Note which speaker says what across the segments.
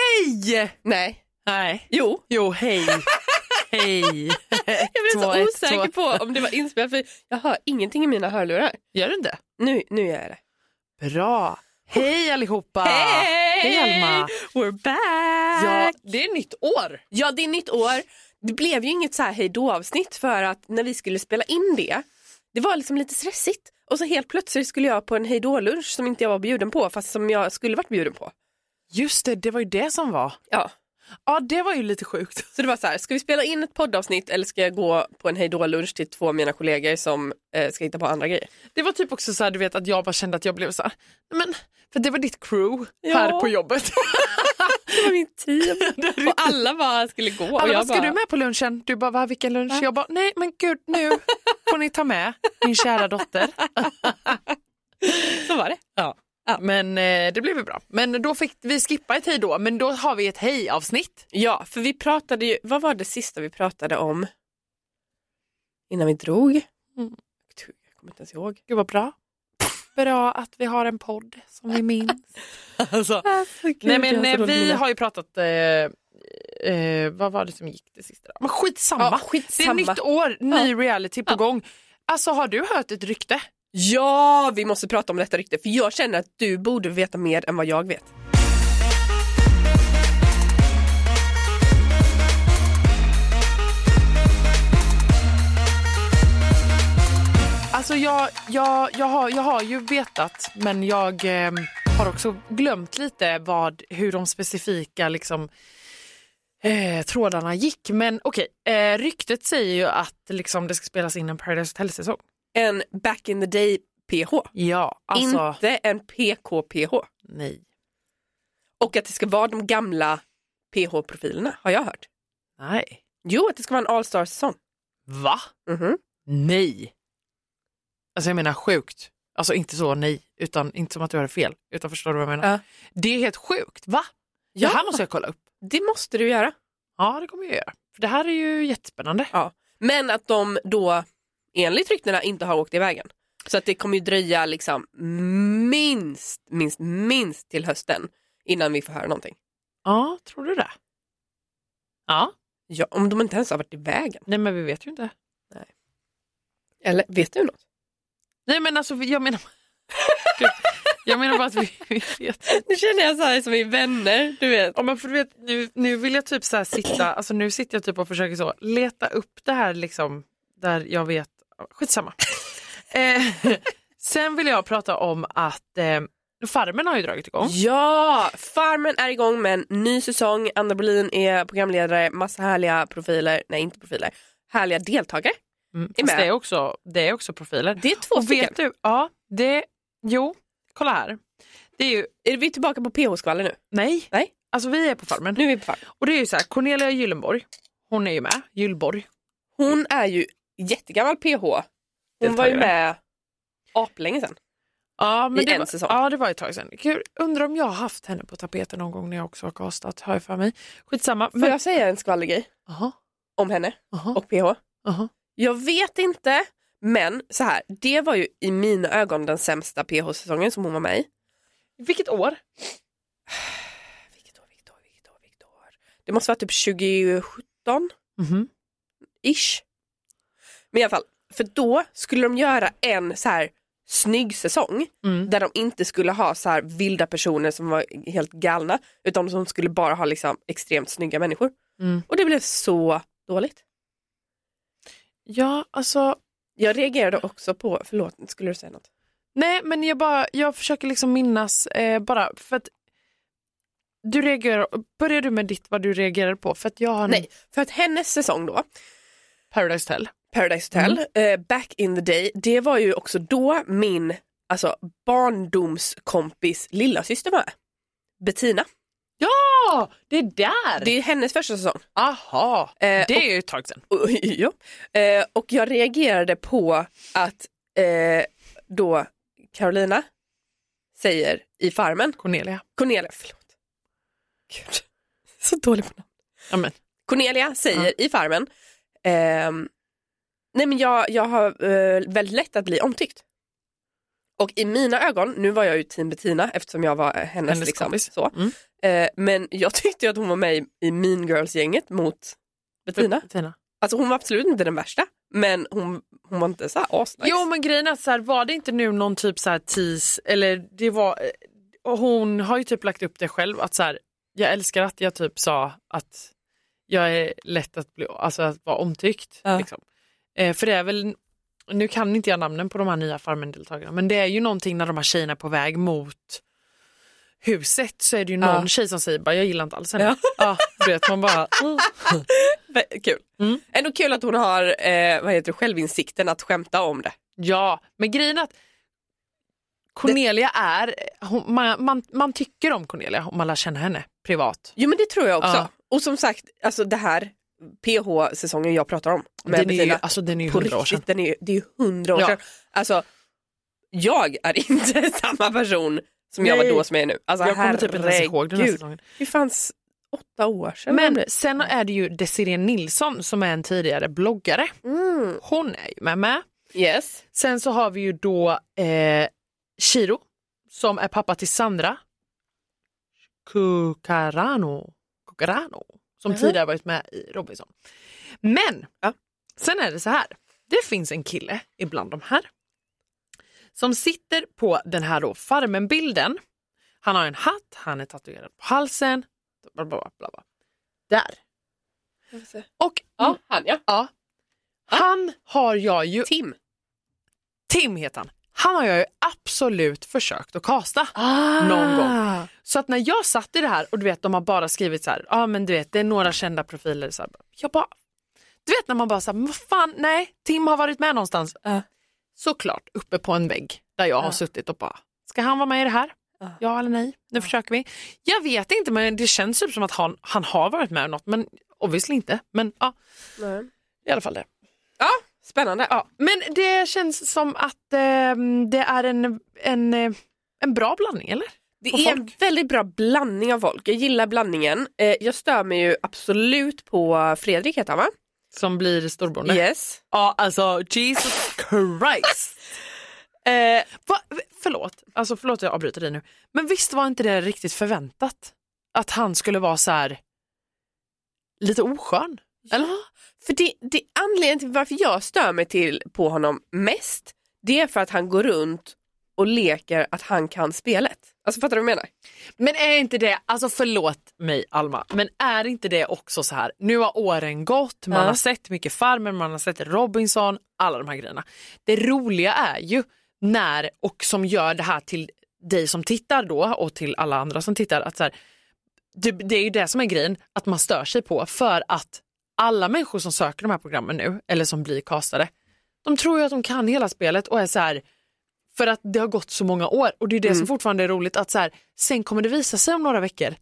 Speaker 1: Nej!
Speaker 2: Nej.
Speaker 1: Nej.
Speaker 2: Jo.
Speaker 1: Jo, hej. hej.
Speaker 2: Jag blev
Speaker 1: Två,
Speaker 2: så
Speaker 1: ett,
Speaker 2: osäker
Speaker 1: två.
Speaker 2: på om det var inspelat för jag hör ingenting i mina hörlurar.
Speaker 1: Gör du det?
Speaker 2: Nu, nu gör jag det.
Speaker 1: Bra. Hej
Speaker 2: Ah.
Speaker 1: allihopa. Hej Alma.
Speaker 2: We're back!
Speaker 1: Ja, det är nytt år.
Speaker 2: Ja, det är nytt år. Det blev ju inget så här hejdå-avsnitt för att när vi skulle spela in det, det var liksom lite stressigt. Och så helt plötsligt skulle jag på en hejdå-lunch som inte jag var bjuden på, fast som jag skulle varit bjuden på.
Speaker 1: Just det, det var ju det som var.
Speaker 2: Ja,
Speaker 1: Ja, det var ju lite sjukt.
Speaker 2: så det var så här, ska vi spela in ett poddavsnitt eller ska jag gå på en hejdå-lunch till två av mina kollegor som eh, ska hitta på andra grejer?
Speaker 1: Det var typ också så här, du vet att jag bara kände att jag blev så här, men för det var ditt crew
Speaker 2: Ja.
Speaker 1: här på jobbet.
Speaker 2: Det var min team och alla bara skulle gå. och
Speaker 1: Alla,
Speaker 2: jag
Speaker 1: vad ska
Speaker 2: bara,
Speaker 1: du med på lunchen? Du bara, va, vilken lunch? Jag bara, nej men gud nu får ni ta med min kära dotter.
Speaker 2: Så var det.
Speaker 1: Ja. Men eh, det blev ju bra. Men då fick vi skippa ett hej då, men då har vi ett hej-avsnitt.
Speaker 2: Ja, för vi pratade ju, vad var det sista vi pratade om innan vi drog? Jag kommer inte ens ihåg.
Speaker 1: Gud vad bra. Bra att vi har en podd som vi minns. Alltså,
Speaker 2: Alltså,
Speaker 1: nej men eh, vi har ju pratat, eh, eh, vad var det som gick det sista? Då? Men skitsamma.
Speaker 2: Ja,
Speaker 1: det är
Speaker 2: skitsamma.
Speaker 1: nytt år, ny reality på gång. Alltså har du hört ett rykte?
Speaker 2: Ja, vi måste prata om detta rykte för jag känner att du borde veta mer än vad jag vet.
Speaker 1: Alltså jag, jag, jag, har, jag har ju vetat men jag eh, har också glömt lite vad, hur de specifika liksom, eh, trådarna gick. Men okej, eh, ryktet säger ju att liksom, det ska spelas in en Paradise Hotel-säsong.
Speaker 2: En back in the day PH,
Speaker 1: Ja, alltså
Speaker 2: inte en PK-PH.
Speaker 1: nej.
Speaker 2: Och att det ska vara de gamla PH-profilerna har jag hört.
Speaker 1: Nej.
Speaker 2: Jo, att det ska vara en All-star-säsong.
Speaker 1: Va?
Speaker 2: Mhm.
Speaker 1: Nej. Alltså jag menar sjukt. Alltså inte så nej, utan inte som att du hade fel. Utan förstår du vad jag menar?
Speaker 2: Ja.
Speaker 1: Det är helt sjukt, va?
Speaker 2: Ja.
Speaker 1: Det här måste jag kolla upp.
Speaker 2: Det måste du göra.
Speaker 1: Ja, det kommer jag göra. För det här är ju jättespännande.
Speaker 2: Ja. Men att de då enligt ryktena inte har åkt iväg än. Så att det kommer ju dröja liksom minst, minst, minst till hösten innan vi får höra någonting.
Speaker 1: Ja, tror du det? Ja,
Speaker 2: Ja, om de inte ens har varit iväg än.
Speaker 1: nej men vi vet ju inte.
Speaker 2: Eller vet du något?
Speaker 1: Nej men alltså jag menar... Gud, jag menar bara att vi, vi vet.
Speaker 2: Nu känner jag så här som i Vänner, du vet.
Speaker 1: Ja, men för du vet nu, nu vill jag typ så här sitta, alltså nu sitter jag typ och försöker så leta upp det här liksom där jag vet, skitsamma. Eh, sen vill jag prata om att eh, Farmen har ju dragit igång.
Speaker 2: Ja, Farmen är igång med en ny säsong. Anna Bolin är programledare, massa härliga profiler, nej inte profiler, härliga deltagare.
Speaker 1: Mm,
Speaker 2: Är
Speaker 1: fast
Speaker 2: med.
Speaker 1: det, är också, det är också profiler.
Speaker 2: Det är två
Speaker 1: Och
Speaker 2: stycken.
Speaker 1: vet du, ja, det, jo, kolla här. Det är ju,
Speaker 2: Är vi tillbaka på PH-skvaller nu?
Speaker 1: nej,
Speaker 2: Nej.
Speaker 1: alltså vi är på Farmen.
Speaker 2: Nu är vi på Farmen.
Speaker 1: Och det är ju så här, Cornelia Gyllenborg, hon är ju med, Gyllborg.
Speaker 2: Hon är ju jättegammal PH. Hon var ju
Speaker 1: Deltagare.
Speaker 2: med aplänge sen.
Speaker 1: Ja,
Speaker 2: I
Speaker 1: det
Speaker 2: en
Speaker 1: var,
Speaker 2: säsong.
Speaker 1: Ja, det var ett tag sedan. Kul. Undrar om jag har haft henne på tapeten någon gång när jag också har castat, har jag för mig. Skitsamma.
Speaker 2: Får
Speaker 1: Men...
Speaker 2: jag säga en skvallergrej
Speaker 1: Aha,
Speaker 2: om henne
Speaker 1: aha,
Speaker 2: och PH?
Speaker 1: aha.
Speaker 2: Jag vet inte, men så här, det var ju i mina ögon den sämsta PH-säsongen som hon var med i.
Speaker 1: Vilket år?
Speaker 2: Vilket år, vilket år, vilket år, vilket år? Det måste vara typ 2017?
Speaker 1: Mhm.
Speaker 2: ish. Men i alla fall, för då skulle de göra en så här snygg säsong
Speaker 1: Mm.
Speaker 2: där de inte skulle ha så här vilda personer som var helt galna utan de skulle bara ha liksom extremt snygga människor.
Speaker 1: Mm.
Speaker 2: Och det blev så dåligt.
Speaker 1: Ja, alltså.
Speaker 2: Jag reagerade också på, förlåt, skulle du säga något?
Speaker 1: Nej, men jag bara, jag försöker liksom minnas eh, bara för att du reagerar, börjar du med ditt vad du reagerar på? För att jag har en
Speaker 2: Nej, för att hennes säsong då,
Speaker 1: Paradise Hotel.
Speaker 2: Paradise Hotel, eh, Back in the day, det var ju också då min alltså, barndomskompis lillasyster var med. Bettina.
Speaker 1: Ja, det är där!
Speaker 2: Det är hennes första säsong.
Speaker 1: Aha,
Speaker 2: Eh,
Speaker 1: det är ju ett tag sedan.
Speaker 2: Och- ja. eh, och jag reagerade på att eh, då Carolina säger i Farmen,
Speaker 1: Cornelia.
Speaker 2: Cornelia, förlåt. Gud, så dålig på namn.
Speaker 1: Ja, men.
Speaker 2: Cornelia säger i Farmen, ehm, nej men jag, jag har eh, väldigt lätt att bli omtyckt. Och i mina ögon, nu var jag ju team Bettina eftersom jag var eh, hennes,
Speaker 1: Hennes
Speaker 2: liksom,
Speaker 1: kompis.
Speaker 2: så.
Speaker 1: Mm.
Speaker 2: Eh, men jag tyckte ju att hon var med i- i Mean Girls-gänget mot Bettina.
Speaker 1: Tina.
Speaker 2: Alltså hon var absolut inte den värsta, men hon, hon var inte så här asnice.
Speaker 1: Jo men grejen är att så här, var det inte nu någon typ så här tease eller det var och hon har ju typ lagt upp det själv att så här, jag älskar att jag typ sa att jag är lätt att bli alltså att vara omtyckt
Speaker 2: Ja.
Speaker 1: liksom. eh, för det är väl nu kan inte jag namnen på de här nya Farmen-deltagarna men det är ju någonting när de här tjejerna är på väg mot huset så är det ju någon
Speaker 2: Ja.
Speaker 1: tjej som säger bara jag gillar inte alls henne. Ja. du vet man bara mm.
Speaker 2: Vä- Kul.
Speaker 1: Mm.
Speaker 2: Ändå kul att hon har eh, vad heter det, självinsikten att skämta om det.
Speaker 1: Ja, men grejen är att Cornelia är, hon, man, man, man tycker om Cornelia om man lär känna henne privat.
Speaker 2: Jo men det tror jag också.
Speaker 1: Ja.
Speaker 2: Och som sagt, alltså det här PH-säsongen jag pratar om med
Speaker 1: Den är, ju,
Speaker 2: Bettina,
Speaker 1: alltså, den är ju
Speaker 2: på
Speaker 1: hundra år sedan.
Speaker 2: riktigt, den är, ju- det är ju hundra år
Speaker 1: Ja.
Speaker 2: sedan. Alltså, jag är inte samma person som jag var
Speaker 1: Nej.
Speaker 2: då som jag är nu. Alltså,
Speaker 1: Jag kommer typ inte ens ihåg den här
Speaker 2: herregud.
Speaker 1: säsongen.
Speaker 2: Det fanns åtta år sedan.
Speaker 1: Men sen är det ju Desirée Nilsson som är en tidigare bloggare.
Speaker 2: Mm.
Speaker 1: Hon är ju med. med.
Speaker 2: Yes.
Speaker 1: Sen så har vi ju då eh, Chiro som är pappa till Sandra Cucarano, Cucarano som
Speaker 2: Mhm.
Speaker 1: tidigare varit med i Robinson. Men
Speaker 2: Ja.
Speaker 1: sen är det så här, det finns en kille ibland de här som sitter på den här då Farmen-bilden. Han har en hatt, han är tatuerad på halsen. Bla, bla, bla, bla, bla. Där. Och
Speaker 2: Ja, han ja.
Speaker 1: ja, han har jag ju
Speaker 2: Tim.
Speaker 1: Tim heter han. Han har jag ju absolut försökt att kasta. Någon gång. Så att när jag satt i det här och du vet de har bara skrivit så här, ja ah, men du vet det är några kända profiler. Så här, jag bara, du vet när man bara så här, "Men vad fan nej, Tim har varit med någonstans.
Speaker 2: Ja.
Speaker 1: Såklart uppe på en vägg där jag har
Speaker 2: Ja.
Speaker 1: suttit och bara, ska han vara med i det här?
Speaker 2: Ja.
Speaker 1: Ja eller nej, nu försöker vi. Jag vet inte men det känns typ som att han, han har varit med i något men obviously inte. Men ja,
Speaker 2: Nej.
Speaker 1: i alla fall det.
Speaker 2: Ja, spännande.
Speaker 1: Ja, men det känns som att eh, det är en, en, eh, en bra blandning, eller?
Speaker 2: Det
Speaker 1: på
Speaker 2: är en
Speaker 1: folk.
Speaker 2: väldigt bra blandning av folk. Jag gillar blandningen. Eh, jag stör mig ju absolut på Fredrik heter han va?
Speaker 1: Som blir storbonde.
Speaker 2: Yes.
Speaker 1: Ja, alltså Jesus Christ.
Speaker 2: Eh,
Speaker 1: Va? Förlåt, alltså förlåt att jag avbryter dig nu. Men visst var inte det riktigt förväntat? Att han skulle vara så här lite oskön? Eller?
Speaker 2: För det, det anledningen till varför jag stör mig till på honom mest, det är för att han går runt och leker att han kan spelet. Alltså fattar du vad jag menar?
Speaker 1: Men är inte det, alltså förlåt mig Alma, men är inte det också så här, nu har åren gått, man
Speaker 2: Ja.
Speaker 1: har sett mycket Farmen, man har sett Robinson, alla de här grejerna. Det roliga är ju när, och som gör det här till dig som tittar då och till alla andra som tittar, att så här, det, det är ju det som är grejen, att man stör sig på för att alla människor som söker de här programmen nu, eller som blir castade, de tror ju att de kan hela spelet och är så här, för att det har gått så många år och det är det
Speaker 2: Mm.
Speaker 1: som fortfarande är roligt att så här, sen kommer det visa sig om några veckor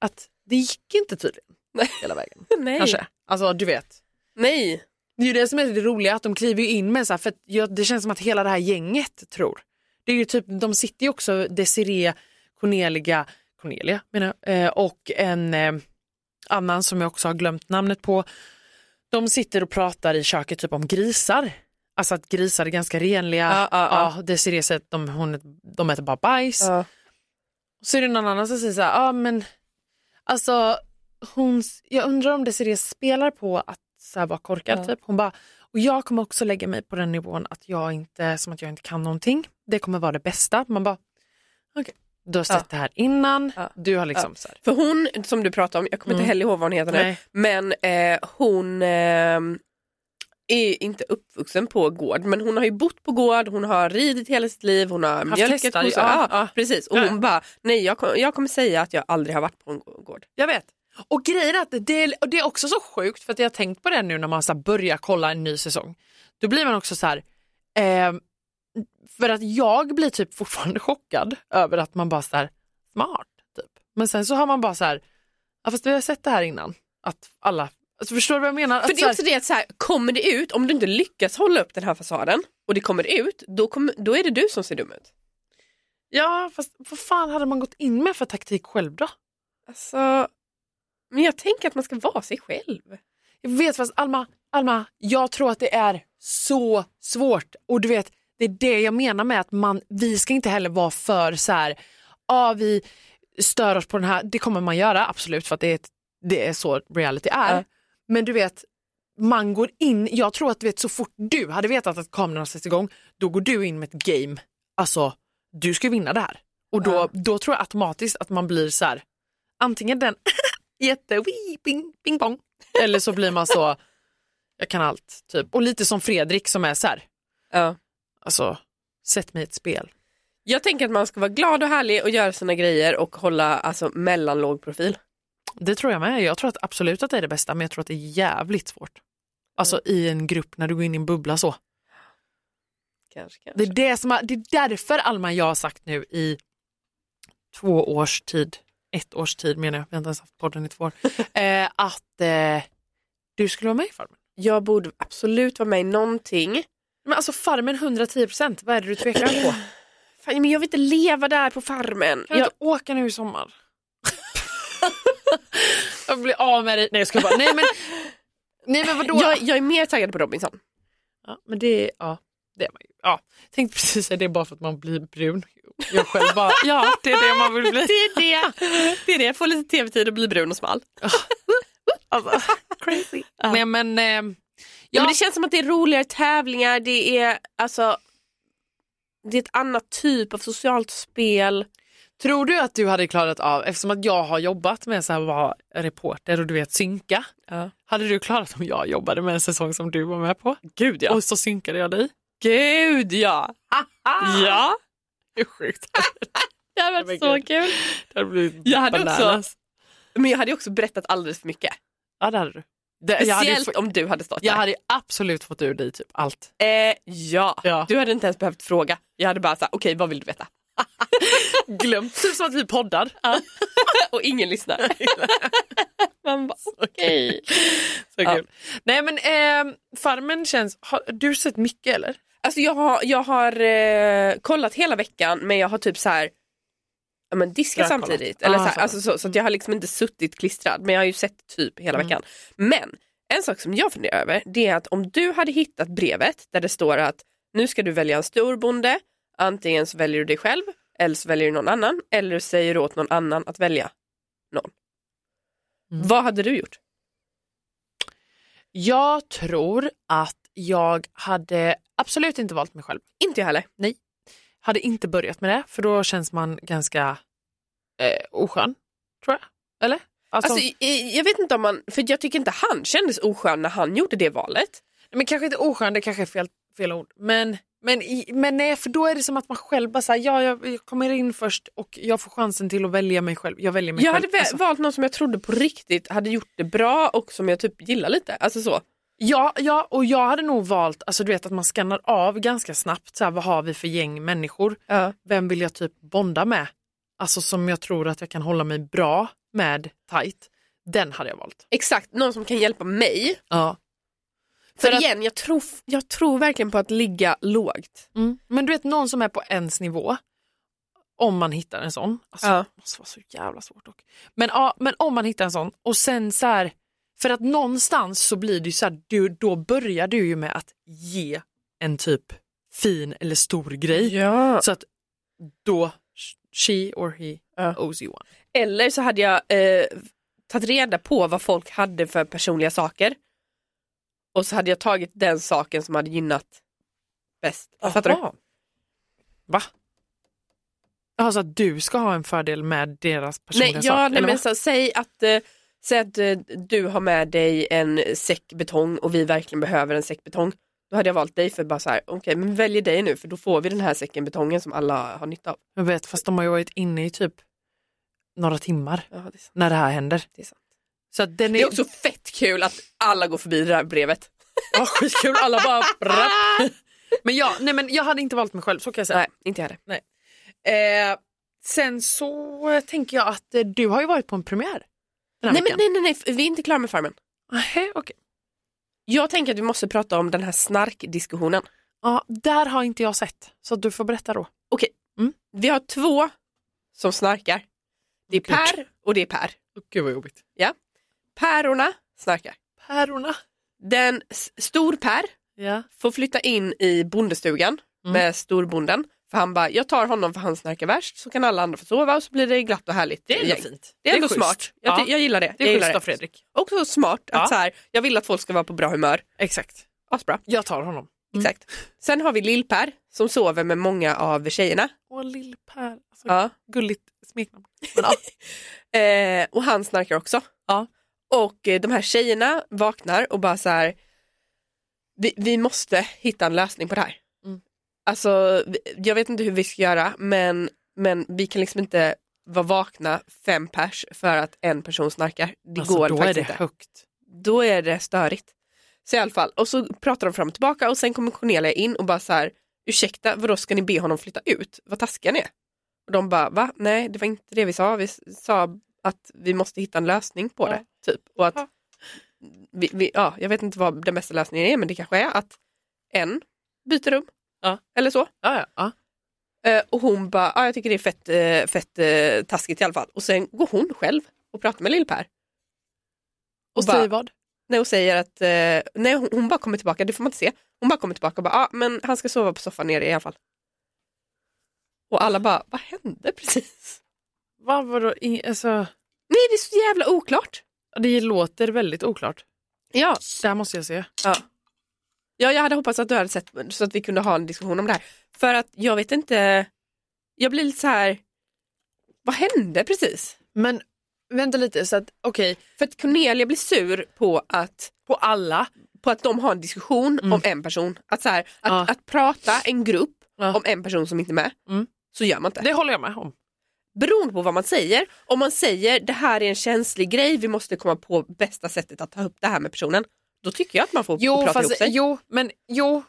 Speaker 1: att det gick inte tydligen
Speaker 2: Nej.
Speaker 1: hela vägen.
Speaker 2: Nej.
Speaker 1: Kanske. Alltså du vet.
Speaker 2: Nej.
Speaker 1: Det är ju det som är det roliga att de kliver ju in med så här, för att, ja, det känns som att hela det här gänget tror. Det är ju typ, de sitter ju också Desiree, Cornelia, Cornelia menar jag, eh, och en eh, annan som jag också har glömt namnet på. De sitter och pratar i köket typ om grisar. Alltså att grisar är ganska renliga.
Speaker 2: Ja, ja, ja.
Speaker 1: Ja, Desiree säger att de, hon, de äter bara bajs. Så är det någon annan som säger så här, ja men alltså hon, jag undrar om Desiree spelar på att så här vara korkad
Speaker 2: Ja.
Speaker 1: typ. Hon bara, och jag kommer också lägga mig på den nivån att jag inte, som att jag inte kan någonting. Det kommer vara det bästa. Man bara, okej, du har sett
Speaker 2: Ja.
Speaker 1: det här innan,
Speaker 2: Ja.
Speaker 1: du har liksom så här.
Speaker 2: För hon som du pratade om, jag kommer
Speaker 1: Mm.
Speaker 2: inte heller ihåg vad hon heter nu,
Speaker 1: Nej.
Speaker 2: men eh, hon eh, är inte uppvuxen på gård men hon har ju bott på gård, hon har ridit hela sitt liv, hon har mjölkat
Speaker 1: hästar,
Speaker 2: kossor.
Speaker 1: ja,
Speaker 2: Ja,
Speaker 1: ja.
Speaker 2: Precis, och
Speaker 1: Ja.
Speaker 2: hon bara, nej jag, kom, jag kommer säga att jag aldrig har varit på en gård.
Speaker 1: Jag vet. Och grejen är att det, och det är också så sjukt för att jag har tänkt på det nu när man så här börjar kolla en ny säsong. Då blir man också så här, ehm, för att jag blir typ fortfarande chockad över att man bara så här, smart typ. Men sen så har man bara så här, ja, fast vi har sett det här innan. Att alla, alltså förstår du vad jag menar?
Speaker 2: För
Speaker 1: att
Speaker 2: det
Speaker 1: så
Speaker 2: är
Speaker 1: här,
Speaker 2: också det att så här, kommer det ut, om du inte lyckas hålla upp den här fasaden och det kommer ut, då, kommer, då är det du som ser dum ut.
Speaker 1: Ja fast vad fan hade man gått in med för taktik själv då?
Speaker 2: Alltså, men jag tänker att man ska vara sig själv.
Speaker 1: Jag vet fast Alma, Alma, jag tror att det är så svårt. Och du vet, Det är det jag menar med att man, vi ska inte heller vara för så här, ah, vi stör oss på den här, det kommer man göra absolut för att det är, ett, det är så reality är.
Speaker 2: Ja.
Speaker 1: Men du vet, man går in, jag tror att du vet, så fort du hade vetat att kamerorna sätts igång, då går du in med ett game, alltså du ska vinna det här. Och då,
Speaker 2: Ja.
Speaker 1: då tror jag automatiskt att man blir så här, antingen den jätte wii, bing, bing bong. Eller så blir man så, jag kan allt. typ. Och lite som Fredrik som är så här,
Speaker 2: Ja.
Speaker 1: alltså sätt mig i ett spel.
Speaker 2: Jag tänker att man ska vara glad och härlig och göra sina grejer och hålla alltså, mellanlåg profil.
Speaker 1: Det tror jag med. Jag tror att absolut att det är det bästa men jag tror att det är jävligt svårt. Alltså i en grupp när du går in i en bubbla så.
Speaker 2: Kanske,
Speaker 1: Det
Speaker 2: kanske.
Speaker 1: är, det som, har- det är därför Alma jag har sagt nu i två års tid, ett års tid menar jag, vi har inte ens haft podden i två år, eh, att eh, du skulle vara med i Farmen.
Speaker 2: Jag borde absolut vara med i någonting.
Speaker 1: Men alltså Farmen 110 procent, vad är det du tvekar på? Kan
Speaker 2: Fan, men jag vill inte leva där på farmen.
Speaker 1: du
Speaker 2: Jag,
Speaker 1: inte åka nu i sommar? jag blir av med dig. Nej jag ska bara, nej men, nej, men vadå?
Speaker 2: jag, jag är mer taggad på Robinson.
Speaker 1: Ja, men det, ja, det är man ju. Ja, tänkte precis säga det är bara för att man blir brun. Jag själv bara, ja det är det man vill bli.
Speaker 2: är det. det, är det. Få lite tv-tid och bli brun och smal.
Speaker 1: Alltså, crazy. Nej men, eh,
Speaker 2: Ja. Men det känns som att det är roligare tävlingar, det är alltså det är ett annat typ av socialt spel.
Speaker 1: tror du att du hade klarat av, eftersom att jag har jobbat med så här, vara reporter och du vet synka.
Speaker 2: Ja.
Speaker 1: Hade du klarat om jag jobbade med en säsong som du var med på?
Speaker 2: Gud ja.
Speaker 1: Och så synkade jag dig?
Speaker 2: gud ja. Ja,
Speaker 1: Hur sjukt?
Speaker 2: det hade
Speaker 1: Men
Speaker 2: varit så
Speaker 1: gud.
Speaker 2: kul.
Speaker 1: Det hade blivit
Speaker 2: Jag hade också-
Speaker 1: bananas.
Speaker 2: Men jag hade ju också berättat alldeles för mycket.
Speaker 1: Ja det hade du. Det, jag, hade ju,
Speaker 2: Speciellt
Speaker 1: få-
Speaker 2: om du hade stått
Speaker 1: jag
Speaker 2: där.
Speaker 1: hade ju absolut fått ur dig typ allt.
Speaker 2: Eh, ja.
Speaker 1: Ja.
Speaker 2: du hade inte ens behövt fråga. Jag hade bara sagt okej vad vill du veta?
Speaker 1: Glömt, typ som att vi poddar.
Speaker 2: Och ingen lyssnar. Man bara okej.
Speaker 1: Så
Speaker 2: Ja.
Speaker 1: kul. Nej men eh, Farmen känns, har du sett mycket eller?
Speaker 2: Alltså jag har, jag har eh, kollat hela veckan men jag har typ så här ja, men diska
Speaker 1: Strökollat.
Speaker 2: samtidigt.
Speaker 1: Ah,
Speaker 2: Eller så, här,
Speaker 1: så.
Speaker 2: alltså så, så att jag har liksom inte suttit klistrad men jag har ju sett typ hela
Speaker 1: Mm.
Speaker 2: veckan. Men en sak som jag funderar över det är att om du hade hittat brevet där det står att nu ska du välja en storbonde, antingen så väljer du dig själv eller så väljer du någon annan eller säger du åt någon annan att välja någon.
Speaker 1: Mm.
Speaker 2: Vad hade du gjort?
Speaker 1: Jag tror att jag hade absolut inte valt mig själv.
Speaker 2: Inte jag heller.
Speaker 1: Hade inte börjat med det för då känns man ganska eh, oskön tror jag. Eller? Alltså,
Speaker 2: Alltså, i- i- jag vet inte om man, för jag tycker inte han kändes oskön när han gjorde det valet.
Speaker 1: men kanske inte oskön, det kanske är fel, fel ord. Men, men, i- men nej, för då är det som att man själv bara säger ja, jag, jag kommer in först och jag får chansen till att välja mig själv. Jag väljer mig
Speaker 2: Jag
Speaker 1: själv.
Speaker 2: hade vä-
Speaker 1: Alltså,
Speaker 2: valt någon som jag trodde på riktigt hade gjort det bra och som jag typ gillar lite. Alltså så.
Speaker 1: Ja, ja, och jag hade nog valt, alltså du vet att man skannar av ganska snabbt, så här, vad har vi för gäng människor? Vem vill jag typ bonda med? Alltså som jag tror att jag kan hålla mig bra med tight. Den hade jag valt.
Speaker 2: Exakt, någon som kan hjälpa mig.
Speaker 1: Ja.
Speaker 2: För,
Speaker 1: För att-
Speaker 2: igen, jag tror, f- jag tror verkligen på att ligga lågt.
Speaker 1: Mm. Men du vet någon som är på ens nivå, om man hittar en sån. Alltså,
Speaker 2: Ja.
Speaker 1: Det måste vara så jävla svårt dock. Men, ja, men om man hittar en sån och sen så här, för att någonstans så blir det ju så här, du, då börjar du ju med att ge en typ fin eller stor grej.
Speaker 2: Ja.
Speaker 1: Så att då, she or he
Speaker 2: Ja.
Speaker 1: owes you one.
Speaker 2: Eller så hade jag eh, tagit reda på vad folk hade för personliga saker. Och så hade jag tagit den saken som hade gynnat bäst. Fattar du?
Speaker 1: Va? Jaha, så Alltså, att du ska ha en fördel med deras personliga
Speaker 2: Nej, ja,
Speaker 1: sak?
Speaker 2: nej
Speaker 1: eller
Speaker 2: men
Speaker 1: vad?
Speaker 2: så, säg att, eh, säg att eh, du har med dig en säck betong och vi verkligen behöver en säck betong. Då hade jag valt dig för bara så här, okej men välj dig nu för då får vi den här säcken betongen som alla har nytta av.
Speaker 1: Jag vet, fast de har ju varit inne i typ några timmar
Speaker 2: Ja, det, är sant.
Speaker 1: när det här händer.
Speaker 2: Det är sant.
Speaker 1: Så att den är,
Speaker 2: det är också fett kul att alla går förbi det här brevet.
Speaker 1: ja, skitkul, alla bara... brapp. men, ja, nej, men jag hade inte valt mig själv, så kan jag säga.
Speaker 2: Nej, inte jag heller.
Speaker 1: Eh, sen så eh, tänker jag att eh, du har ju varit på en premiär den här
Speaker 2: Nej, men,
Speaker 1: veckan.
Speaker 2: nej, nej, nej, vi är inte klara med Farmen.
Speaker 1: Nähä, okej.
Speaker 2: Jag tänker att vi måste prata om den här snarkdiskussionen.
Speaker 1: ja, där har inte jag sett, så du får berätta då.
Speaker 2: Vi har två som snarkar. Det är
Speaker 1: Gud.
Speaker 2: Per och det är Per.
Speaker 1: Gud vad jobbigt.
Speaker 2: Pärorna snarkar.
Speaker 1: Pärorna.
Speaker 2: Den s- stor Per
Speaker 1: Ja.
Speaker 2: får flytta in i bondestugan
Speaker 1: Mm.
Speaker 2: med storbonden. För han bara, jag tar honom för han snarkar värst så kan alla andra få sova och så blir det glatt och härligt.
Speaker 1: Det är ändå
Speaker 2: gäng.
Speaker 1: fint.
Speaker 2: Det är ändå
Speaker 1: schysst.
Speaker 2: smart. Jag,
Speaker 1: Ja.
Speaker 2: ty- jag gillar det.
Speaker 1: Det
Speaker 2: jag
Speaker 1: är
Speaker 2: gillar
Speaker 1: schysst av Fredrik.
Speaker 2: Också smart att
Speaker 1: Ja.
Speaker 2: så här, jag vill att folk ska vara på bra humör.
Speaker 1: Exakt.
Speaker 2: Asbra.
Speaker 1: Jag tar honom.
Speaker 2: Exakt. Sen har vi Lill-Per som sover med många av tjejerna.
Speaker 1: Åh, Lill-Per. Alltså,
Speaker 2: Ja.
Speaker 1: Gulligt smeknamn. Men, ja.
Speaker 2: Eh, och han snarkar också.
Speaker 1: Ja.
Speaker 2: Och eh, de här tjejerna vaknar och bara så här, vi, vi måste hitta en lösning på det här.
Speaker 1: Mm.
Speaker 2: Alltså, vi- jag vet inte hur vi ska göra men, men vi kan liksom inte vara vakna fem pers för att en person snarkar. Det
Speaker 1: alltså,
Speaker 2: går
Speaker 1: då är
Speaker 2: faktiskt
Speaker 1: det
Speaker 2: inte.
Speaker 1: högt.
Speaker 2: Då är det störigt. Så i alla fall, och så pratar de fram och tillbaka och sen kommer Cornelia in och bara så här, ursäkta, vadå ska ni be honom flytta ut? Vad taskiga ni är. Och de bara, va? Nej, det var inte det vi sa. Vi s- sa att vi måste hitta en lösning på det, typ. Och att,
Speaker 1: Ja.
Speaker 2: vi, vi, ja, jag vet inte vad den bästa lösningen är, men det kanske är att en byter rum.
Speaker 1: Ja.
Speaker 2: Eller så.
Speaker 1: Ja, ja, ja.
Speaker 2: Eh, och hon bara, ja, jag tycker det är fett, eh, fett eh, taskigt i alla fall. Och sen går hon själv och pratar med Lill-Per.
Speaker 1: Och,
Speaker 2: bara-
Speaker 1: säg vad?
Speaker 2: när hon säger att, eh, nej hon, hon bara kommer tillbaka, det får man inte se. Hon bara kommer tillbaka och bara, ah, men han ska sova på soffan nere i alla fall. Och alla bara, vad hände precis?
Speaker 1: Vad var då? I, alltså,
Speaker 2: Nej det är så jävla oklart.
Speaker 1: det låter väldigt oklart.
Speaker 2: Ja,
Speaker 1: Det här måste jag se.
Speaker 2: ja jag hade hoppats att du hade sett så att vi kunde ha en diskussion om det här. För att jag vet inte, jag blir lite så här, vad hände precis?
Speaker 1: Men vänta lite, så att okej,
Speaker 2: För att Cornelia blir sur på att
Speaker 1: på alla.
Speaker 2: på att de har en diskussion om en person. Att, så här, att,
Speaker 1: Mm. Ja.
Speaker 2: att prata en grupp
Speaker 1: Ja.
Speaker 2: om en person som inte är med,
Speaker 1: Mm.
Speaker 2: så gör man inte.
Speaker 1: Det håller jag med om.
Speaker 2: beroende på vad man säger. Om man säger det här är en känslig grej, vi måste komma på bästa sättet att ta upp det här med personen. Då tycker jag att man får
Speaker 1: Jo,
Speaker 2: prata ihop
Speaker 1: fast,
Speaker 2: sig.
Speaker 1: jo men jo,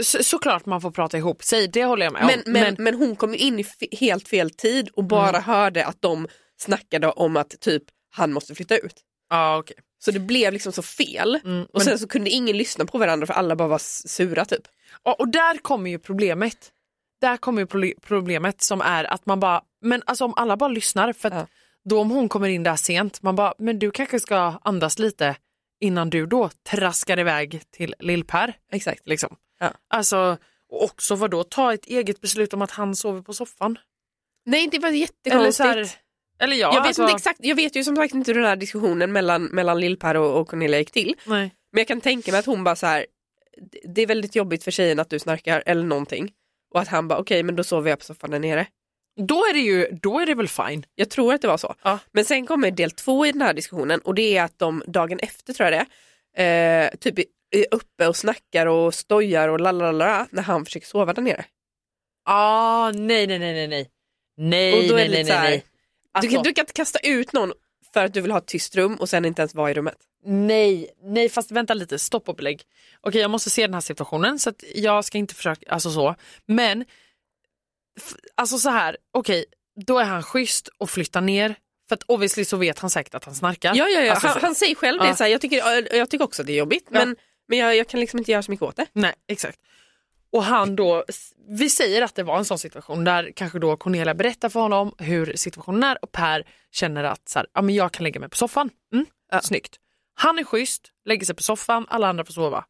Speaker 1: så, såklart man får prata ihop sig, det håller jag med
Speaker 2: men,
Speaker 1: om.
Speaker 2: men, men, hon kom ju in i fe- helt fel tid och bara
Speaker 1: Mm.
Speaker 2: hörde att de snackade om att typ han måste flytta ut.
Speaker 1: ja, okej.
Speaker 2: Så det blev liksom så fel.
Speaker 1: Mm,
Speaker 2: Och
Speaker 1: men-
Speaker 2: sen så kunde ingen lyssna på varandra för alla bara var s- sura typ.
Speaker 1: Ja, och där kommer ju problemet. Där kommer ju proble- problemet som är att man bara, men alltså om alla bara lyssnar, för att
Speaker 2: Ja.
Speaker 1: då om hon kommer in där sent, man bara, men du kanske ska andas lite innan du då traskar iväg till Lill-Per.
Speaker 2: Exakt.
Speaker 1: Liksom.
Speaker 2: Ja.
Speaker 1: Alltså, och också vad då ta ett eget beslut om att han sover på soffan.
Speaker 2: Nej det var
Speaker 1: Eller,
Speaker 2: jättekonstigt.
Speaker 1: så här, eller ja,
Speaker 2: jag, vet
Speaker 1: alltså,
Speaker 2: inte exakt, jag vet ju som sagt inte hur den här diskussionen mellan, mellan Lill-Per och, och Cornelia gick till.
Speaker 1: Nej.
Speaker 2: Men jag kan tänka mig att hon bara så här, "Det- det är väldigt jobbigt för tjejen att du snarkar eller någonting. Och att han bara, okej men då sover jag på soffan där nere.
Speaker 1: Då är det ju, då är det väl fine.
Speaker 2: Jag tror att det var så.
Speaker 1: Ja.
Speaker 2: Men sen kommer del två i den här diskussionen och det är att de dagen efter tror jag det är, eh, typ är uppe och snackar och stojar och lalalala när han försöker sova där nere.
Speaker 1: Ah, nej, nej, nej, nej, nej. Nej,
Speaker 2: och då
Speaker 1: nej,
Speaker 2: är det
Speaker 1: nej,
Speaker 2: lite så
Speaker 1: nej,
Speaker 2: här,
Speaker 1: nej.
Speaker 2: du,
Speaker 1: Alltså-
Speaker 2: kan, du kan inte kasta ut någon för att du vill ha ett tyst rum och sen inte ens vara i rummet.
Speaker 1: Nej, nej fast vänta lite, stopp och belägg. Okej jag måste se den här situationen så att jag ska inte försöka, alltså så. Men, f- alltså så här, okej då är han schysst och flyttar ner. För att obviously så vet han säkert att han snarkar.
Speaker 2: Ja, ja, ja.
Speaker 1: Alltså,
Speaker 2: han,
Speaker 1: så-
Speaker 2: han säger själv
Speaker 1: Ja.
Speaker 2: det, så här, jag, tycker, jag tycker också att det är jobbigt
Speaker 1: Ja.
Speaker 2: men, men jag, jag kan liksom inte göra så mycket åt det.
Speaker 1: Nej, exakt. Och han då, vi säger att det var en sån situation där kanske då Cornelia berättar för honom hur situationen är och Per känner att så här, ja, men jag kan lägga mig på soffan. Mm, Snyggt. Han är schysst, lägger sig på soffan, alla andra får sova.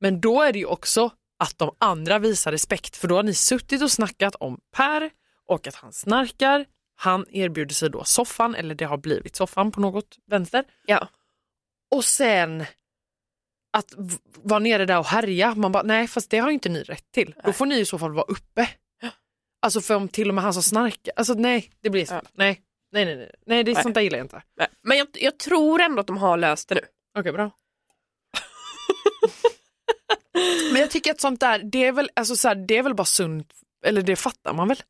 Speaker 1: Men då är det ju också att de andra visar respekt för då har ni suttit och snackat om Per och att han snarkar. Han erbjuder sig då soffan, eller det har blivit soffan på något vänster.
Speaker 2: Ja.
Speaker 1: Och sen att v- vara nere där och härja. Man bara, nej fast det har ju inte ni rätt till. Då får ni i så fall vara uppe. Alltså för om till och med han som snarkar, alltså nej det blir så.
Speaker 2: Ja.
Speaker 1: Nej. nej, nej, nej, nej, det är
Speaker 2: Nej.
Speaker 1: sånt där gillar jag inte.
Speaker 2: Nej, Men jag, jag tror ändå att de har löst det nu.
Speaker 1: Okej, bra. Men jag tycker att sånt där, det är väl, alltså så här, det är väl bara sunt, eller det fattar man väl?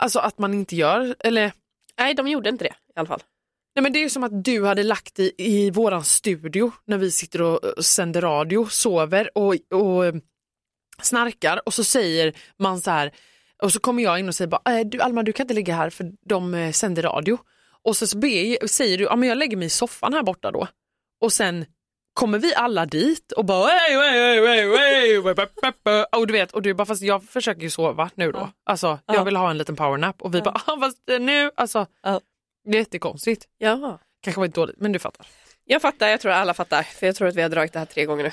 Speaker 1: Alltså att man inte gör, eller
Speaker 2: Nej, de gjorde inte det i alla fall.
Speaker 1: Nej, men det är ju som att du hade lagt i, i våran studio när vi sitter och eh, sänder radio, sover och, och eh, snarkar och så säger man så här och så kommer jag in och säger bara, "Eh, du, Alma du kan inte ligga här för de eh, sänder radio. Och så, så ber, säger du, ja men jag lägger mig i soffan här borta då. Och sen kommer vi alla dit och bara "Ey, ey, ey, ey, ey, ey, ey, ey." och du vet och du bara fast jag försöker ju sova nu då. Alltså jag
Speaker 2: Ja.
Speaker 1: vill ha en liten powernap och vi bara "Ah, fast eh, nu alltså
Speaker 2: Ja.
Speaker 1: det är jättekonstigt.
Speaker 2: Ja.
Speaker 1: Kanske var ett dåligt, men du fattar.
Speaker 2: Jag fattar, jag tror alla fattar. För jag tror att vi har dragit det här tre gånger nu.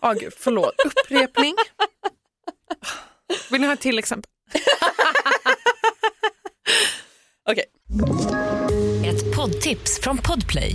Speaker 1: Ja, gud, förlåt. Upprepning. Vill ni ha ett till exempel?
Speaker 2: Okej.
Speaker 3: Ett poddtips från Podplay.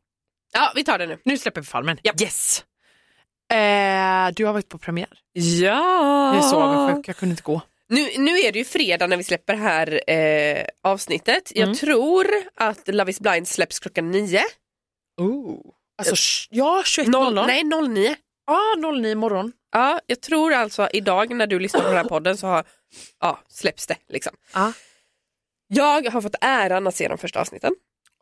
Speaker 2: Ja, vi tar det nu.
Speaker 1: Nu släpper vi farmen. Yes! Eh, du har varit på premiär.
Speaker 2: Ja!
Speaker 1: Jag är så avundsjuk, jag kunde inte gå.
Speaker 2: Nu, nu är det ju fredag när vi släpper det här eh, avsnittet. Jag
Speaker 1: Mm.
Speaker 2: tror att Love is blind släpps klockan nio.
Speaker 1: Oh. Alltså, sh- ja,
Speaker 2: Noll,
Speaker 1: 21.00.
Speaker 2: nej, 09.
Speaker 1: Ja, 09 imorgon.
Speaker 2: Ja, jag tror alltså idag när du lyssnar på den här podden så har, ja, släpps det. Liksom.
Speaker 1: Ja.
Speaker 2: Jag har fått äran att se de första avsnitten.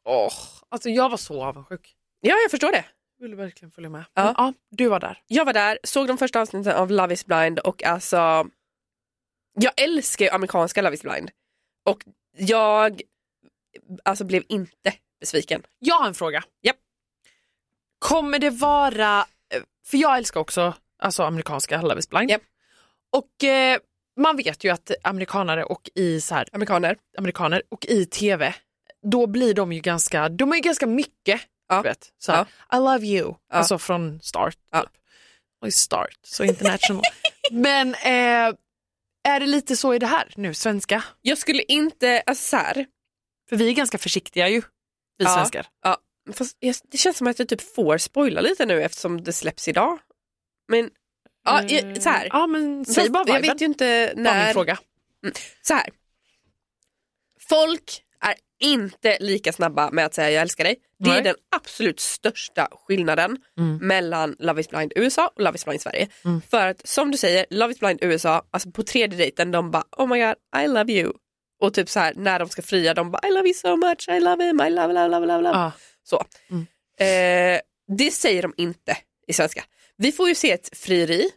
Speaker 1: Oh, alltså jag var så avundsjuk.
Speaker 2: Ja, jag förstår det.
Speaker 1: Jag ville verkligen följa med.
Speaker 2: Ja.
Speaker 1: Men, ja, du var där.
Speaker 2: Jag var där, såg de första avsnitten av Love is blind och alltså jag älskar ju amerikanska Love is blind och jag alltså blev inte besviken.
Speaker 1: Jag har en fråga.
Speaker 2: Japp.
Speaker 1: Kommer det vara, eh, för jag älskar också alltså amerikanska Love is blind.
Speaker 2: Japp.
Speaker 1: Och eh, man vet ju att amerikanare och i så här,
Speaker 2: Amerikaner.
Speaker 1: amerikaner och i tv, då blir de ju ganska, de är ju ganska mycket.
Speaker 2: Ja.
Speaker 1: Du vet, så här, I love you, alltså från start.
Speaker 2: Ja.
Speaker 1: Typ. Och start, så international. Men eh, är det lite så i det här nu, svenska?
Speaker 2: Jag skulle inte, alltså så här,
Speaker 1: För vi är ganska försiktiga ju, vi
Speaker 2: Ja.
Speaker 1: svenskar.
Speaker 2: fast jag, det känns som att jag typ får spoila lite nu eftersom det släpps idag. Men ja, jag, så här.
Speaker 1: Mm. Ja, men säg
Speaker 2: Fast
Speaker 1: bara
Speaker 2: jag
Speaker 1: viben.
Speaker 2: vet ju inte
Speaker 1: Var min
Speaker 2: när
Speaker 1: fråga.
Speaker 2: så här. Folk är inte lika snabba med att säga jag älskar dig. Det är
Speaker 1: Nej.
Speaker 2: den absolut största skillnaden
Speaker 1: Mm.
Speaker 2: mellan Love is blind USA och Love is blind Sverige. För att som du säger, Love is blind USA, alltså på tredje dejten de bara oh my god I love you. Och typ så här när de ska fria de bara I love you so much, I love him, I love, love, love, love. love.
Speaker 1: Ja.
Speaker 2: Så.
Speaker 1: Mm.
Speaker 2: Eh, det säger de inte i svenska. Vi får ju se ett frieri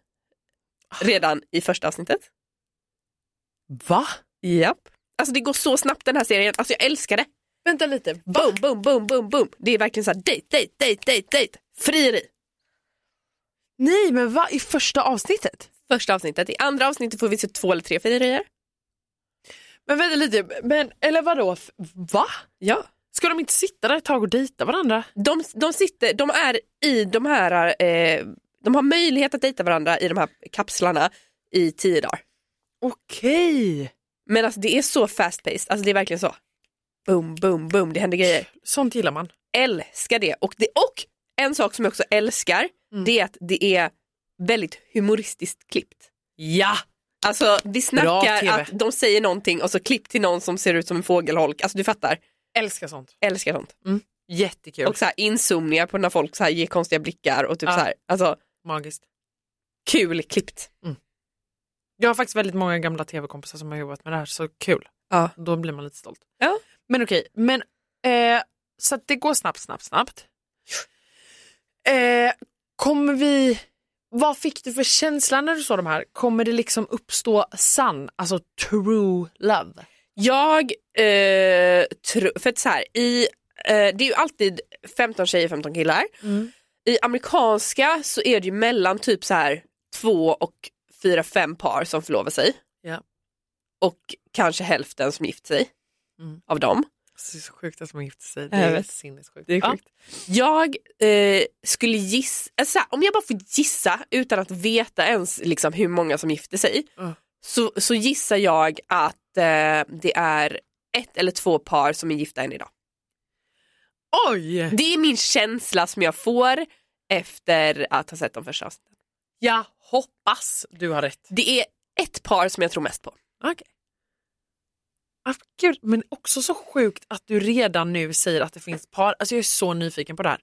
Speaker 1: Ah.
Speaker 2: redan i första avsnittet.
Speaker 1: Va?
Speaker 2: Japp. Alltså det går så snabbt den här serien, alltså jag älskar det.
Speaker 1: Vänta lite.
Speaker 2: Boom, boom, boom, boom, boom. Det är verkligen såhär dejt, dejt, dejt, dejt, dejt. Frieri.
Speaker 1: Nej, men va? I första avsnittet?
Speaker 2: Första avsnittet. I andra avsnittet får vi se två eller tre frierier.
Speaker 1: Men vänta lite, men, eller vadå? F- Va?
Speaker 2: Ja.
Speaker 1: Ska de inte sitta där ett tag och dejta varandra?
Speaker 2: De, de sitter, de är i de här, eh, de har möjlighet att dejta varandra i de här kapslarna i tio dagar.
Speaker 1: Okej.
Speaker 2: Men alltså det är så fast paced, alltså det är verkligen så. Boom, boom, boom, det händer grejer.
Speaker 1: Sånt gillar man.
Speaker 2: Älskar det. Och, det, och en sak som jag också älskar,
Speaker 1: Mm.
Speaker 2: det är att det är väldigt humoristiskt klippt.
Speaker 1: Ja!
Speaker 2: Alltså vi snackar
Speaker 1: TV.
Speaker 2: att de säger någonting och så klipp till någon som ser ut som en fågelholk. Alltså du fattar,
Speaker 1: Älskar sånt.
Speaker 2: älskar sånt.
Speaker 1: Jättekul.
Speaker 2: Och så här inzoomningar på när folk så här ger konstiga blickar och typ
Speaker 1: Ja.
Speaker 2: så här, alltså
Speaker 1: magiskt.
Speaker 2: kul klippt.
Speaker 1: Jag har faktiskt väldigt många gamla tv-kompisar som har jobbat med det här, så kul.
Speaker 2: Ja.
Speaker 1: Då blir man lite stolt.
Speaker 2: Ja.
Speaker 1: Men okej, men, eh, så att det går snabbt, snabbt, snabbt. Eh, kommer vi... Vad fick du för känsla när du såg de här? Kommer det liksom uppstå sann, alltså true love?
Speaker 2: Jag eh, tror, för att så här, i, eh, det är ju alltid 15 tjejer 15 killar.
Speaker 1: Mm.
Speaker 2: I amerikanska så är det ju mellan typ så här två och fyra, fem par som förlovar sig.
Speaker 1: Ja.
Speaker 2: Och kanske hälften som gift sig
Speaker 1: Mm.
Speaker 2: av dem.
Speaker 1: Det är så sjukt att man gifter sig.
Speaker 2: Jag vet.
Speaker 1: sinnessjukt.
Speaker 2: Det är sjukt. Jag eh, skulle gissa, alltså, så här, om jag bara får gissa utan att veta ens liksom, hur många som gifter sig
Speaker 1: Ja.
Speaker 2: så, så gissar jag att eh, det är ett eller två par som är gifta än idag.
Speaker 1: Ja. Oj!
Speaker 2: Det är min känsla som jag får efter att ha sett de första avsnitten.
Speaker 1: Jag hoppas du har rätt.
Speaker 2: Det är ett par som jag tror mest på.
Speaker 1: Okej. Ah, gud, men också så sjukt att du redan nu säger att det finns par. Alltså jag är så nyfiken på det här.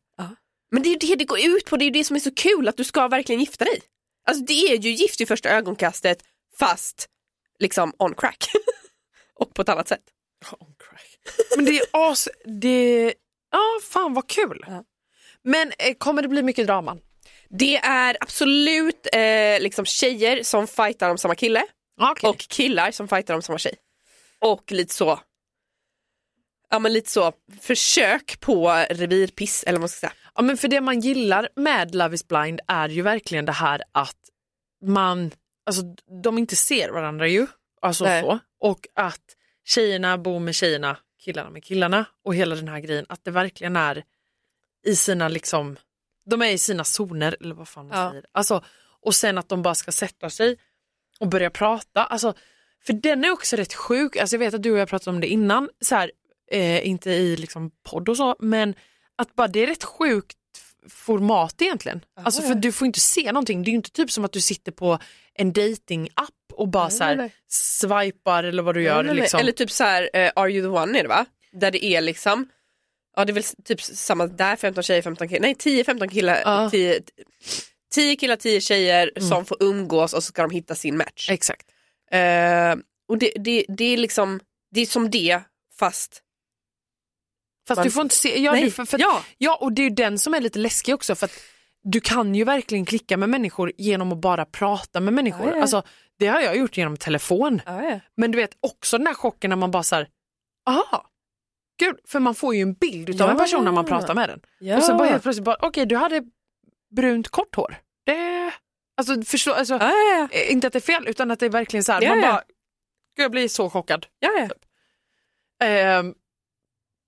Speaker 2: Men det är ju det det går ut på, det är ju det som är så kul att du ska verkligen gifta dig. Alltså det är ju gift i första ögonkastet fast liksom on crack. Och på ett annat sätt.
Speaker 1: Men det är as... Det... Ja, fan vad kul.
Speaker 2: Ja.
Speaker 1: Men eh, kommer det bli mycket draman?
Speaker 2: Det är absolut eh, liksom tjejer som fightar om samma kille.
Speaker 1: Okej.
Speaker 2: och killar som fightar om samma tjej. Och lite så, ja men lite så försök på revirpiss eller vad man ska säga.
Speaker 1: Ja, men för det man gillar med Love is blind är ju verkligen det här att man, alltså de inte ser varandra ju. Alltså
Speaker 2: Nej.
Speaker 1: så. Och att tjejerna bor med tjejerna, killarna med killarna och hela den här grejen. Att det verkligen är i sina liksom, de är i sina zoner eller vad fan man
Speaker 2: Ja.
Speaker 1: säger. Alltså, och sen att de bara ska sätta sig och börja prata. Alltså, för den är också rätt sjuk. Alltså, jag vet att du och jag pratade om det innan, så här, eh, inte i liksom podd och så, men att bara det är rätt sjukt f- format egentligen. alltså för du får inte se någonting. Det är ju inte typ som att du sitter på en dating-app och bara så här
Speaker 2: nej.
Speaker 1: swipar eller vad du gör.
Speaker 2: eller,
Speaker 1: liksom.
Speaker 2: eller typ så här, eh, Are you the one är det va? Där det är liksom, ja det är väl s- typ samma där, 15 tjejer, 15 killar, nej 10-15 killar,
Speaker 1: Ja. Mm.
Speaker 2: 10, 10 killar, 10 tjejer som får umgås och så ska de hitta sin match.
Speaker 1: Exakt.
Speaker 2: Eh, och det, det, det är liksom, det är som det fast,
Speaker 1: Fast
Speaker 2: Man-
Speaker 1: du får inte se. Ja,
Speaker 2: Nej,
Speaker 1: du, för, för,
Speaker 2: ja.
Speaker 1: ja, och det är ju den som är lite läskig också. För att du kan ju verkligen klicka med människor genom att bara prata med människor.
Speaker 2: Ja, ja.
Speaker 1: Alltså, det har jag gjort genom telefon. Men du vet också den här chocken när man bara så här, aha, gud, för man får ju en bild utav
Speaker 2: Ja.
Speaker 1: en person när man pratar med den.
Speaker 2: Ja.
Speaker 1: Och så bara helt plötsligt bara, okej du hade brunt kort hår. Det, alltså förstå, alltså,
Speaker 2: Ja, ja, ja.
Speaker 1: eh, inte att det är fel utan att det är verkligen så här,
Speaker 2: Ja,
Speaker 1: man
Speaker 2: ja.
Speaker 1: bara, gud jag blir så chockad. Typ.
Speaker 2: Ja, ja.
Speaker 1: Ehm,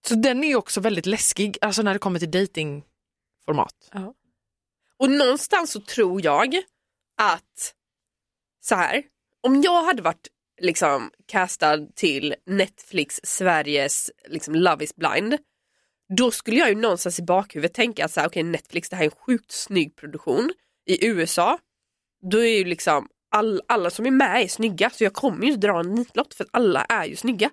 Speaker 1: så den är ju också väldigt läskig, alltså när det kommer till datingformat.
Speaker 2: Och någonstans så tror jag att så här, om jag hade varit liksom castad till Netflix Sveriges liksom Love is blind, då skulle jag ju någonstans i bakhuvudet tänka att så här, okej Netflix det här är en sjukt snygg produktion i USA, då är ju liksom all, alla som är med är snygga så jag kommer ju inte dra en nitlott för att alla är ju snygga.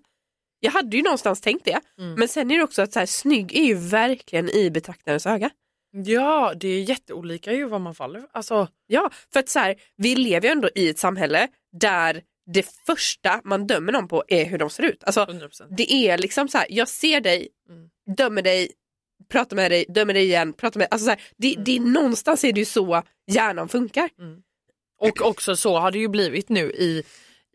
Speaker 2: Jag hade ju någonstans tänkt det, men sen är det också att så här, snygg är ju verkligen i betraktarens öga.
Speaker 1: Ja, det är jätteolika ju vad man faller för. Alltså,
Speaker 2: Ja, för att så här, vi lever ju ändå i ett samhälle där det första man dömer någon på är hur de ser ut. Alltså,
Speaker 1: 100%.
Speaker 2: det är liksom så här, jag ser dig,
Speaker 1: Mm.
Speaker 2: dömer dig, pratar med dig, dömer dig igen, pratar med alltså så här, det,
Speaker 1: Mm.
Speaker 2: det är någonstans är det ju så hjärnan funkar.
Speaker 1: Och också så har det ju blivit nu i,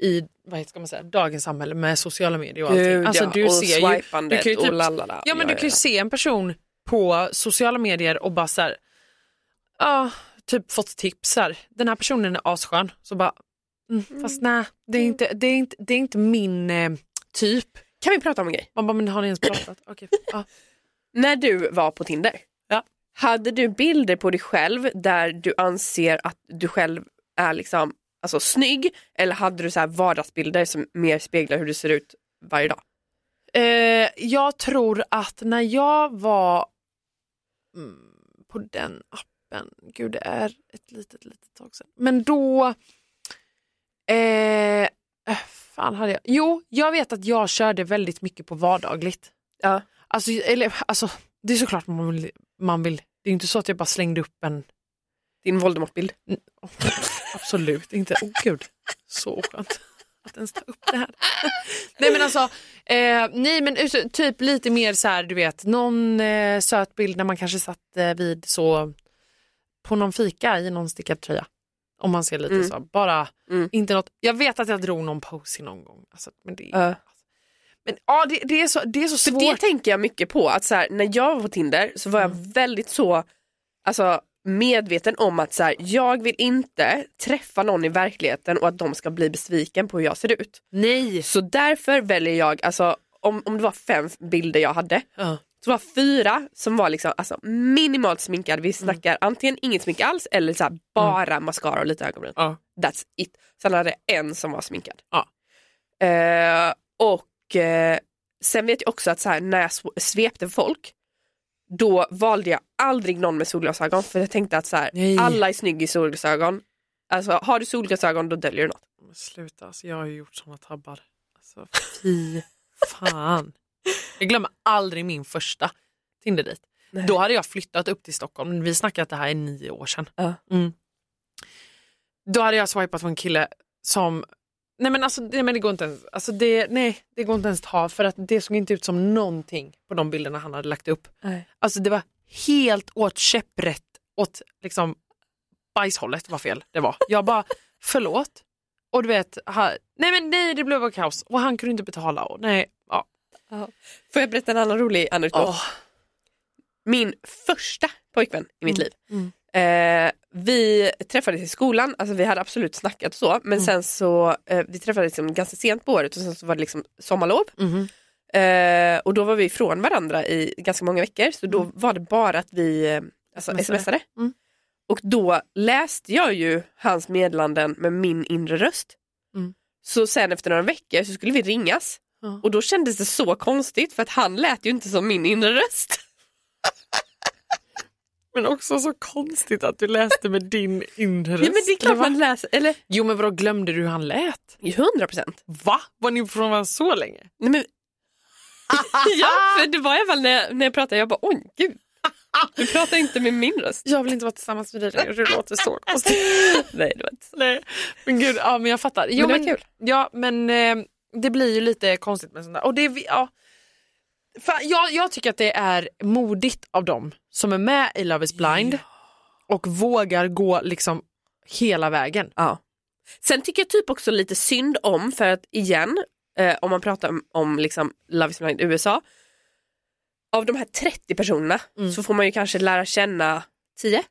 Speaker 1: i vad ska man säga, dagens samhälle med sociala medier och allting.
Speaker 2: Gud,
Speaker 1: alltså,
Speaker 2: ja,
Speaker 1: du
Speaker 2: och
Speaker 1: ser ju, du
Speaker 2: swipandet
Speaker 1: kan ju
Speaker 2: och
Speaker 1: typ,
Speaker 2: lalala.
Speaker 1: Ja men
Speaker 2: Ja,
Speaker 1: du kan ju
Speaker 2: ja.
Speaker 1: se en person på sociala medier och bara så här, ja, typ fått tips här. Den här personen är asskön. Så bara, mm, fast nej, det är inte, det är inte, det är inte min eh, typ.
Speaker 2: Kan vi prata om en grej?
Speaker 1: Man bara, men har ni ens pratat? Okej, ja.
Speaker 2: När du var på Tinder,
Speaker 1: Ja.
Speaker 2: hade du bilder på dig själv där du anser att du själv är liksom, alltså, snygg eller hade du så här vardagsbilder som mer speglar hur du ser ut varje dag?
Speaker 1: Eh, jag tror att när jag var mm, på den appen, gud det är ett litet, litet tag sedan, men då, eh, äh, fan hade jag, jo jag vet att jag körde väldigt mycket på vardagligt.
Speaker 2: Ja.
Speaker 1: Alltså, eller, alltså det är såklart man vill, man vill, det är ju inte så att jag bara slängde upp en
Speaker 2: Din Voldemort-bild.
Speaker 1: Absolut inte. Åh gud, så skönt att ens ta upp det här. nej men alltså, eh, nej men ut- typ lite mer så här du vet, någon eh, söt bild när man kanske satt eh, vid så på någon fika i någon stickad tröja. Om man ser lite
Speaker 2: Mm.
Speaker 1: så, bara
Speaker 2: Mm.
Speaker 1: inte något. Jag vet att jag drog någon pose någon gång. Alltså, men det, men, ja, det, det, är så, det är så
Speaker 2: För
Speaker 1: svårt. Mm.
Speaker 2: det tänker jag mycket på, att så här, när jag var på Tinder så var jag väldigt så alltså, medveten om att så här, jag vill inte träffa någon i verkligheten och att de ska bli besviken på hur jag ser ut.
Speaker 1: Nej.
Speaker 2: Så därför väljer jag, alltså, om, om det var fem bilder jag hade,
Speaker 1: Ja.
Speaker 2: så var fyra som var liksom, alltså, minimalt sminkad.
Speaker 1: Mm.
Speaker 2: Vi snackar antingen inget smink alls eller så här, bara mascara och lite ögonbryn.
Speaker 1: Ja.
Speaker 2: That's it. Sen hade jag en som var sminkad.
Speaker 1: Ja.
Speaker 2: Eh, och eh, sen vet jag också att så här, när jag sw- svepte folk då valde jag aldrig någon med solglasögon för jag tänkte att så här,
Speaker 1: Nej.
Speaker 2: alla är snygga i solglasögon. Alltså har du solglasögon då döljer du något.
Speaker 1: Men sluta, alltså, jag har ju gjort såna tabbar. Alltså, fy fan. Jag glömmer aldrig min första tinder dit.
Speaker 2: Nej.
Speaker 1: Då hade jag flyttat upp till Stockholm, vi snackar att det här är nio år sedan.
Speaker 2: Ja.
Speaker 1: Mm. Då hade jag swipat på en kille som, nej men alltså det, men det går inte ens, alltså det, nej det går inte ens ta för att det såg inte ut som någonting på de bilderna han hade lagt upp.
Speaker 2: Nej.
Speaker 1: Alltså det var helt åt käpprätt åt liksom bajshållet var fel det var. Jag bara, förlåt, Och du vet, han, nej men nej det blev bara kaos och han kunde inte betala och nej, ja.
Speaker 2: Får jag berätta en annan rolig anekdot?
Speaker 1: Åh.
Speaker 2: Min första pojkvän i mitt
Speaker 1: Mm,
Speaker 2: liv. Eh, vi träffades i skolan, alltså vi hade absolut snackat så, men
Speaker 1: Mm.
Speaker 2: sen så, eh, vi träffades liksom ganska sent på året och sen så var det liksom sommarlov.
Speaker 1: Mhm.
Speaker 2: Eh, och då var vi ifrån varandra i ganska många veckor så då var det bara att vi eh, alltså,
Speaker 1: Mm. Smsade.
Speaker 2: smsade.
Speaker 1: Mm.
Speaker 2: Och då läste jag ju hans meddelanden med min inre röst.
Speaker 1: Mm.
Speaker 2: Så sen efter några veckor så skulle vi ringas
Speaker 1: Ja.
Speaker 2: och då kändes det så konstigt för att han lät ju inte som min inre röst.
Speaker 1: Men också så konstigt att du läste med din inre
Speaker 2: Ja, men det är klart man läser, eller
Speaker 1: Jo men vadå glömde du hur han lät?
Speaker 2: 100 procent.
Speaker 1: Va? Var ni från varandra så länge?
Speaker 2: Nej, men... ja, för det var i alla fall när jag, när jag pratade, jag bara oj gud. Du pratar inte med min röst.
Speaker 1: Jag vill inte vara tillsammans med dig längre, du låter så konstigt.
Speaker 2: Nej, det var inte så.
Speaker 1: Nej, men gud, ja men jag fattar. Jo,
Speaker 2: Men det var kul.
Speaker 1: Ja, men eh, det blir ju lite konstigt med sånt där. Och det, är vi- ja. Fan, jag, jag tycker att det är modigt av dem som är med i Love is blind och vågar gå liksom hela vägen.
Speaker 2: Ja. Sen tycker jag typ också lite synd om, för att igen, eh, om man pratar om, om liksom Love is blind USA, av de här 30 personerna så får man ju kanske lära känna 10.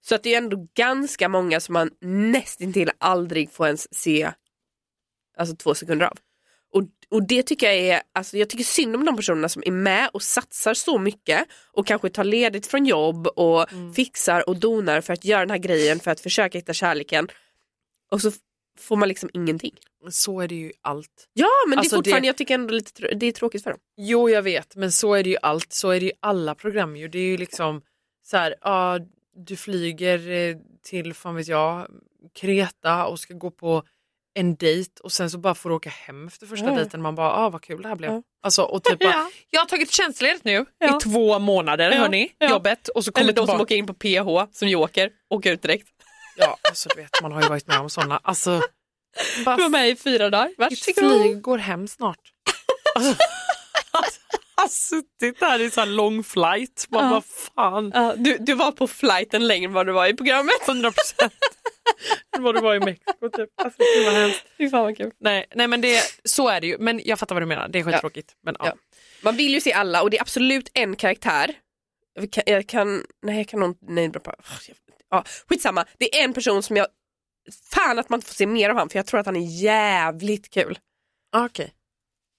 Speaker 2: Så att det är ändå ganska många som man nästintill aldrig får ens se alltså två sekunder av. Och, och det tycker jag är, alltså jag tycker synd om de personerna som är med och satsar så mycket och kanske tar ledigt från jobb och fixar och donar för att göra den här grejen för att försöka hitta kärleken. Och så f- får man liksom ingenting.
Speaker 1: Så är det ju allt.
Speaker 2: Ja men
Speaker 1: Alltså,
Speaker 2: det är fortfarande,
Speaker 1: det-
Speaker 2: jag tycker ändå lite, tr- det är tråkigt för dem.
Speaker 1: Jo, jag vet, men så är det ju allt. Så är det ju alla program. Ju. Det är ju liksom så här, ja, du flyger eh, till, fan vet jag, Kreta och ska gå på en dejt och sen så bara får du åka hem efter första
Speaker 2: Ja.
Speaker 1: dejten. Man bara, ah, vad kul det här blev.
Speaker 2: Ja.
Speaker 1: Alltså, och typ bara, jag har tagit tjänstledigt nu
Speaker 2: Ja.
Speaker 1: i två månader,
Speaker 2: Ja,
Speaker 1: hörni,
Speaker 2: ja.
Speaker 1: jobbet. Och så kommer
Speaker 2: Eller de
Speaker 1: tillbaka.
Speaker 2: som åker in på PH som joker, åker ut direkt.
Speaker 1: Ja, alltså du vet, man har ju varit med om sådana. Alltså,
Speaker 2: Du var
Speaker 1: bara,
Speaker 2: med i fyra dagar,
Speaker 1: ditt
Speaker 2: varsågod.
Speaker 1: flyg går hem snart. Alltså, alltså, jag har suttit där i så här lång flight. Man
Speaker 2: Ja.
Speaker 1: bara, fan.
Speaker 2: Ja, du, du var på flighten längre än vad du var i programmet.
Speaker 1: 100 procent. vad du var i Mexiko typ. Alltså, det var hemskt.
Speaker 2: Fy fan vad kul.
Speaker 1: Nej, nej men det, så är det ju. Men jag fattar vad du menar. Det är skittråkigt. Men, ja.
Speaker 2: Ja. Man vill ju se alla och det är absolut en karaktär. Jag kan, jag kan nej jag kan nog inte- nej, bra på. Ja, skitsamma, det är en person som jag, fan att man inte får se mer av han för jag tror att han är jävligt kul.
Speaker 1: Ah, Okej.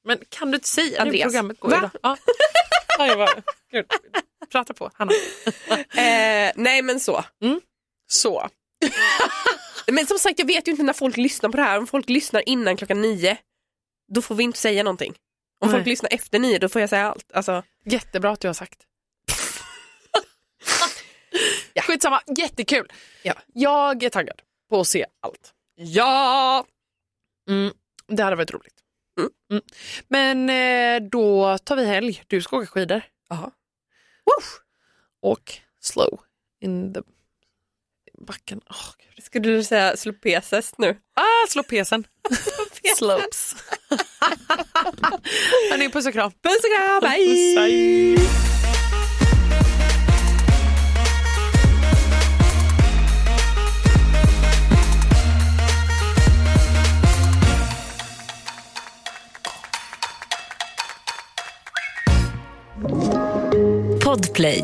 Speaker 1: Men kan du inte säga
Speaker 2: Andreas.
Speaker 1: hur programmet går
Speaker 2: Va?
Speaker 1: idag? Ja. Ja, jag bara, gud. Prata på, Hanna.
Speaker 2: Eh, nej men så.
Speaker 1: Så.
Speaker 2: Men som sagt jag vet ju inte när folk lyssnar på det här, om folk lyssnar innan klockan nio då får vi inte säga någonting. Om
Speaker 1: Nej.
Speaker 2: folk lyssnar efter nio då får jag säga allt. Alltså,
Speaker 1: Jättebra att du har sagt. ja. Skitsamma, jättekul.
Speaker 2: Ja.
Speaker 1: Jag är taggad på att se allt.
Speaker 2: ja!
Speaker 1: Mm. Det hade varit roligt.
Speaker 2: Mm.
Speaker 1: Mm. Men eh, då tar vi helg. Du ska åka skidor.
Speaker 2: Aha.
Speaker 1: och slow in the backen. Åh, gud.
Speaker 2: Skulle du säga slå PSS nu?
Speaker 1: ah, slå pesen. Slopes. Hörni, puss och kram. Puss och kram,
Speaker 2: bye.
Speaker 3: Podplay.